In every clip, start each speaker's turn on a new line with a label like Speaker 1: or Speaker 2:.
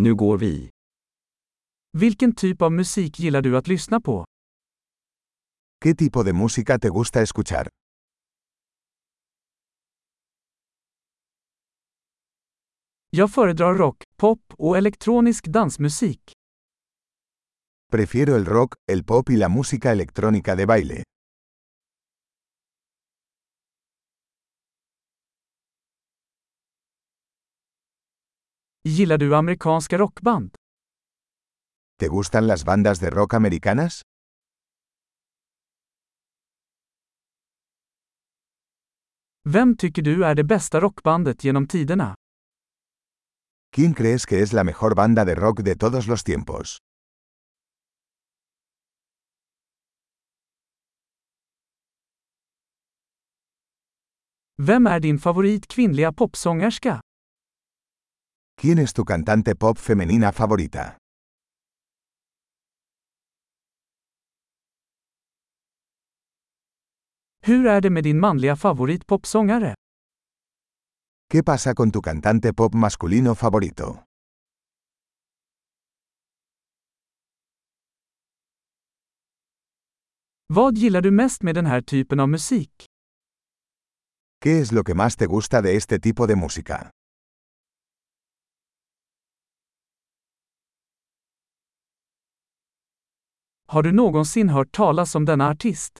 Speaker 1: Nu går vi.
Speaker 2: Vilken typ av musik gillar du att lyssna på?
Speaker 3: ¿Qué tipo de música te gusta escuchar?
Speaker 2: Jag föredrar rock, pop och elektronisk dansmusik.
Speaker 3: Prefiero el rock, el pop y la música electrónica de baile.
Speaker 2: Gillar du amerikanska rockband?
Speaker 3: ¿Te gustan las bandas de rock americanas?
Speaker 2: Vem tycker du är det bästa rockbandet genom tiderna?
Speaker 3: ¿Quién crees que es la mejor banda de rock de todos los tiempos?
Speaker 2: Vem är din favorit kvinnliga popsångerska?
Speaker 3: ¿Quién es tu cantante pop femenina favorita?
Speaker 2: Hur är det med din manliga favorit popsångare?
Speaker 3: ¿Qué pasa con tu cantante pop masculino favorito?
Speaker 2: Vad gillar du mest med den här typen av musik?
Speaker 3: ¿Qué es lo que más te gusta de este tipo de música?
Speaker 2: Har du någonsin hört talas om denna artist?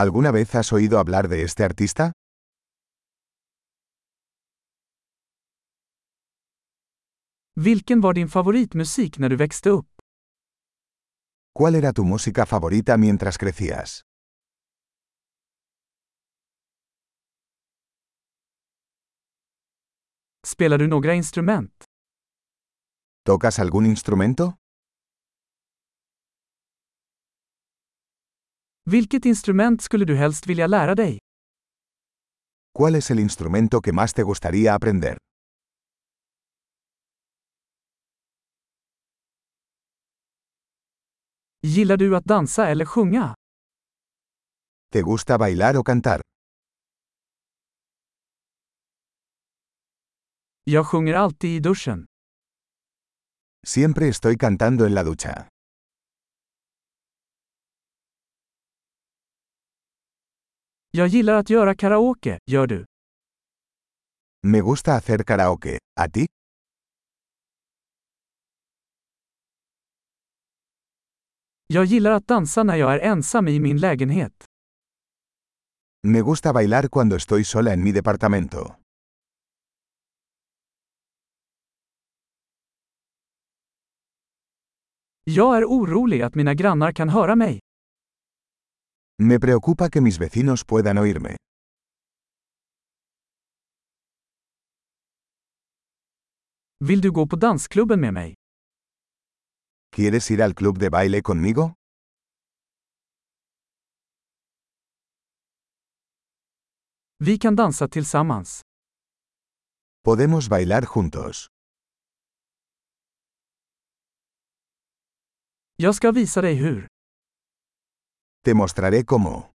Speaker 3: ¿Alguna vez has oído hablar de este artista?
Speaker 2: Vilken var din favoritmusik när du växte upp?
Speaker 3: ¿Cuál era tu música favorita mientras crecías?
Speaker 2: Spelar du några instrument?
Speaker 3: ¿Tocas algún instrumento?
Speaker 2: Vilket instrument skulle du helst vilja lära dig?
Speaker 3: ¿Cuál es el instrumento que más te gustaría aprender?
Speaker 2: Gillar du att dansa eller sjunga?
Speaker 3: ¿Te gusta bailar o cantar?
Speaker 2: Jag sjunger alltid i duschen.
Speaker 3: Siempre estoy cantando en la ducha.
Speaker 2: Jag gillar att göra karaoke, gör du?
Speaker 3: Me gusta hacer karaoke. ¿A ti?
Speaker 2: Jag gillar att dansa när jag är ensam i min lägenhet.
Speaker 3: Me gusta bailar cuando estoy sola en mi departamento.
Speaker 2: Jag är orolig att mina grannar kan höra mig.
Speaker 3: Me preocupa que mis vecinos puedan oírme.
Speaker 2: Vill du gå på dansklubben med mig?
Speaker 3: ¿Quieres ir al club de baile conmigo?
Speaker 2: Vi kan dansa tillsammans.
Speaker 3: Podemos bailar juntos.
Speaker 2: Jag ska visa dig hur.
Speaker 3: Te mostraré cómo.